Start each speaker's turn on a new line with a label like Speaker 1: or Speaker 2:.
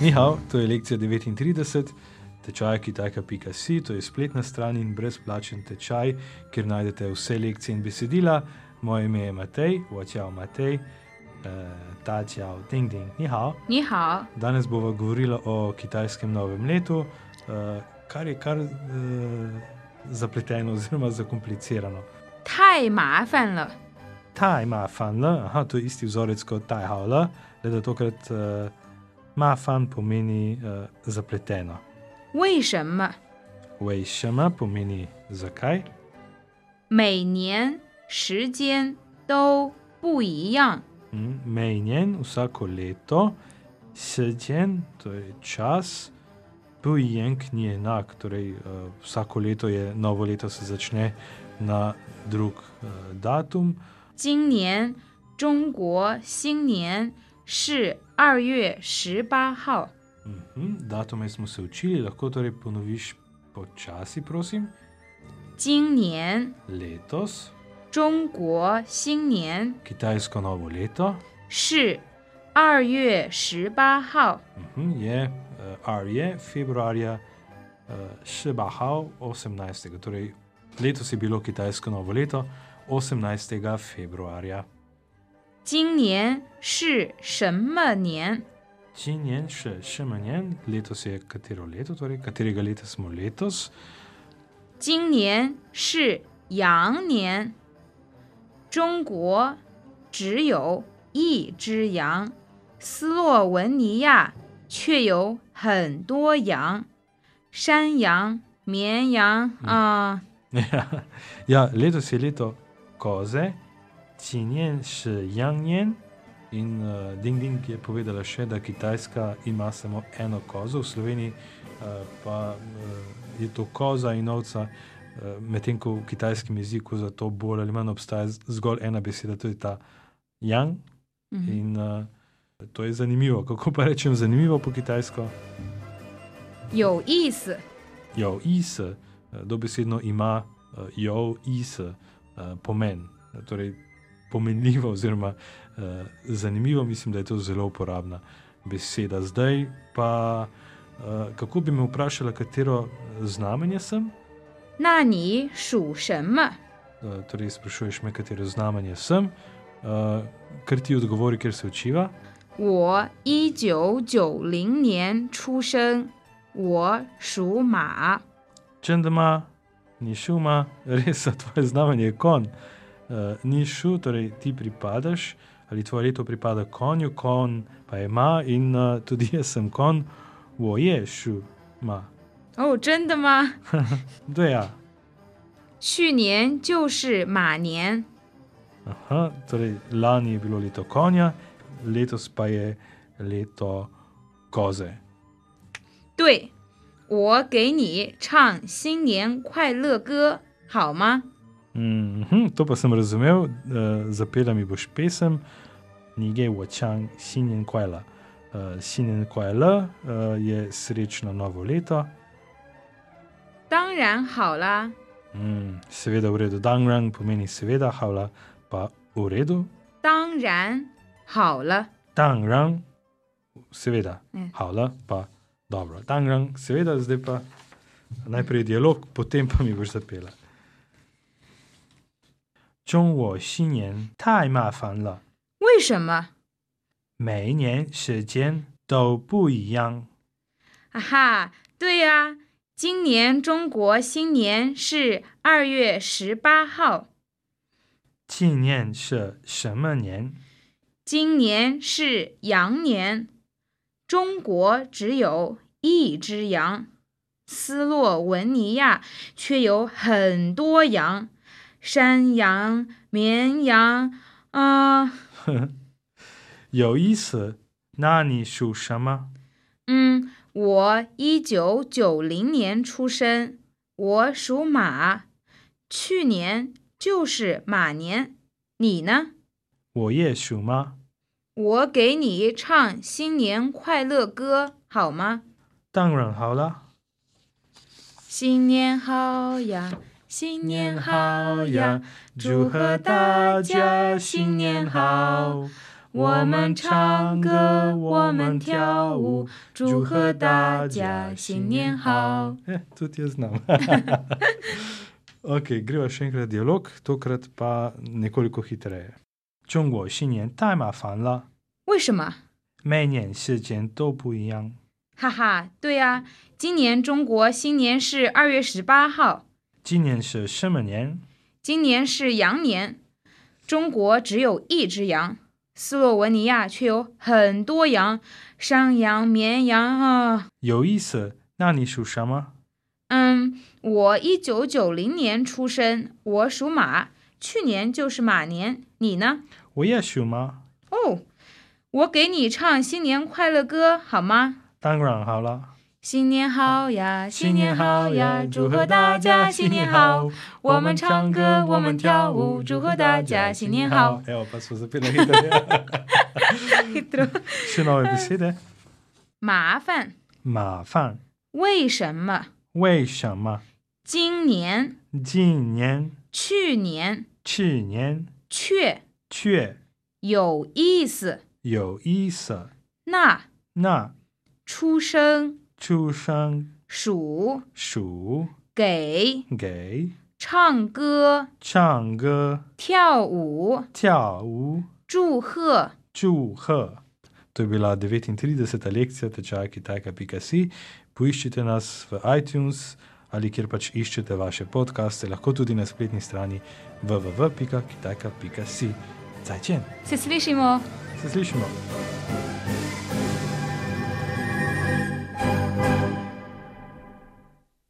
Speaker 1: Nihao, to je lekcija 39, tečaj kitajka.si, to je spletna stran in brezplačen tečaj, kjer najdete vse lekcije in besedila. Moje ime je Matej, Wačao Matej, eh, Ta Čao Ding Ding, Nihao.
Speaker 2: 你好，
Speaker 1: Danes bomo govorili o kitajskem novem letu, eh, kar je kar eh, zapleteno oziroma zakomplicirano.
Speaker 2: 太麻烦了，
Speaker 1: Ta ima fan L, aha, to je isti vzorec kot ta hao L, le da tokrat eh, ma fan pomeni eh, zapleteno.
Speaker 2: 为什么
Speaker 1: Wei shema pomeni zakaj,
Speaker 2: 每年时间都不一样？
Speaker 1: Mm, menjen vsako leto, sedjen, to je čas, pujenk ni enak, torej eh, vsako leto je novo leto se začne na drug eh, datum.
Speaker 2: 今年中国新年是二月十八号，
Speaker 1: Mhm, Datume smo se učili, lahko torej ponoviš počasi, prosim.
Speaker 2: 今年
Speaker 1: Letos,
Speaker 2: 中国新年
Speaker 1: kitajsko novo leto
Speaker 2: 是二月十八号，
Speaker 1: mhm, je eh, arje februarja eh, šebahao 18. Torej, letos je bilo kitajsko novo leto 18. februarja.
Speaker 2: 今年是什么年？
Speaker 1: Činjen še, še manjen, letos je katero leto, torej katerega leta smo letos.
Speaker 2: 今年是羊年，中国只有一只羊，斯洛文尼亚却有很多羊，山羊、绵羊啊、
Speaker 1: ja, letos je leto koze, činjen še jangjen. In uh, Ding Ding je povedala še, da Kitajska ima samo eno kozo, v Sloveniji uh, pa uh, je to koza in ovca, uh, medtem ko v kitajskem jeziku za to bolj ali manj obstaja z- zgolj ena beseda, to je ta yang.
Speaker 2: mhm.
Speaker 1: In uh, to je zanimivo. Kako pa rečem zanimivo po kitajsko?
Speaker 2: 有意思。
Speaker 1: Jo, is, eh, dobesedno ima eh, jo, is eh, pomen. Torej, pomenljivo, oziroma eh, zanimivo, mislim, da je to zelo uporabna beseda. Zdaj pa, eh, kako bi me vprašala, katero znamenje sem?
Speaker 2: 那你属什么？
Speaker 1: Eh, Torej, sprašuješ me, katero znamenje sem, eh, ker ti odgovori, ker se učiva.
Speaker 2: 我一九九零年出生，我属马。
Speaker 1: Čendama, nišuma, res je tvoje znamenje je kon. Uh, nišu, torej ti pripadaš ali tvoje leto pripada konju, kon pa ima in uh, tudi jaz sem kon, voje šu, ma.
Speaker 2: 哦，真的吗？
Speaker 1: Da, ja.
Speaker 2: 去年就是马年，
Speaker 1: Aha, torej lani je bilo leto konja, letos pa je leto koze.
Speaker 2: 对，我给你唱新年快乐歌好吗？
Speaker 1: Mm -hmm, to pa sem razumel, uh, zapela mi boš pesem, Nige Wačang, Sinjen Kajla. Uh, Sinjen Kajla uh, je srečno novo leto,
Speaker 2: 当然好啦，
Speaker 1: mm, seveda v redu, Dangrang pomeni seveda, Havla pa v redu,
Speaker 2: 当然好了，
Speaker 1: Dangrang, seveda,
Speaker 2: Mm.
Speaker 1: Havla pa dobro, Dangrang, seveda, zdaj pa najprej dialog, potem pa mi boš zapela. 中国新年太麻烦了。
Speaker 2: 为什么？
Speaker 1: 每一年时间都不一样。
Speaker 2: 啊哈，对呀、今年中国新年是二月十八号，
Speaker 1: 纪念是什么年？
Speaker 2: 今年是羊年，中国只有一只羊，斯洛文尼亚却有很多羊，山羊、绵羊，啊、
Speaker 1: 有意思。那你属什么？
Speaker 2: 嗯，我一九九零年出生，我属马，去年就是马年。你呢？
Speaker 1: 我也属吗？
Speaker 2: 我给你唱新年快乐歌好吗？
Speaker 1: 当然好了。
Speaker 2: 新年好呀，新年好呀，祝贺大家新年好！我们唱歌，我们跳舞，祝贺大家新年好。
Speaker 1: Eh, tudi jaz znam. ok, greva še enkrat dialog, tokrat pa nekoliko hitreje. 中国新年太麻烦了，
Speaker 2: 为什么？
Speaker 1: 每年时间都不一样。
Speaker 2: 哈哈，对呀、今年中国新年是二月十八号，
Speaker 1: 今年是什么年？
Speaker 2: 今年是羊年。中国只有一只羊，斯洛文尼亚却有很多羊，山羊、绵羊啊。
Speaker 1: 有意思，那你属什么？
Speaker 2: 嗯，我一九九零年出生，我属马，去年就是马年。你呢？
Speaker 1: 我也属吗？
Speaker 2: 哦，我给你唱新年快乐歌好吗？
Speaker 1: 当然好了。
Speaker 2: 新年好呀，新年好呀，祝贺大家新年好！！我们唱歌，我们跳舞，祝贺大家新年好！
Speaker 1: Evo, pa smo zapeli hitro. Še nove besede.
Speaker 2: 麻烦，
Speaker 1: 麻烦，
Speaker 2: 为什么？
Speaker 1: 为什么？
Speaker 2: 今年、
Speaker 1: 今年、
Speaker 2: 去年
Speaker 1: 去年
Speaker 2: 却
Speaker 1: 却
Speaker 2: 有意思，
Speaker 1: 有意思。
Speaker 2: 那
Speaker 1: 那
Speaker 2: 出生
Speaker 1: 出生
Speaker 2: 属
Speaker 1: 属
Speaker 2: 给
Speaker 1: 给
Speaker 2: 唱歌
Speaker 1: 唱歌、
Speaker 2: 跳舞
Speaker 1: 跳舞、
Speaker 2: 祝贺。
Speaker 1: 祝贺。To je bila 39. lekcija tečaja kitajka.si. Poiščite nas v iTunes ali kjer pač iščete vaše podcaste, lahko tudi na spletni strani www.kitajka.si. Zajčen,
Speaker 2: Se slišimo.
Speaker 1: se slišimo.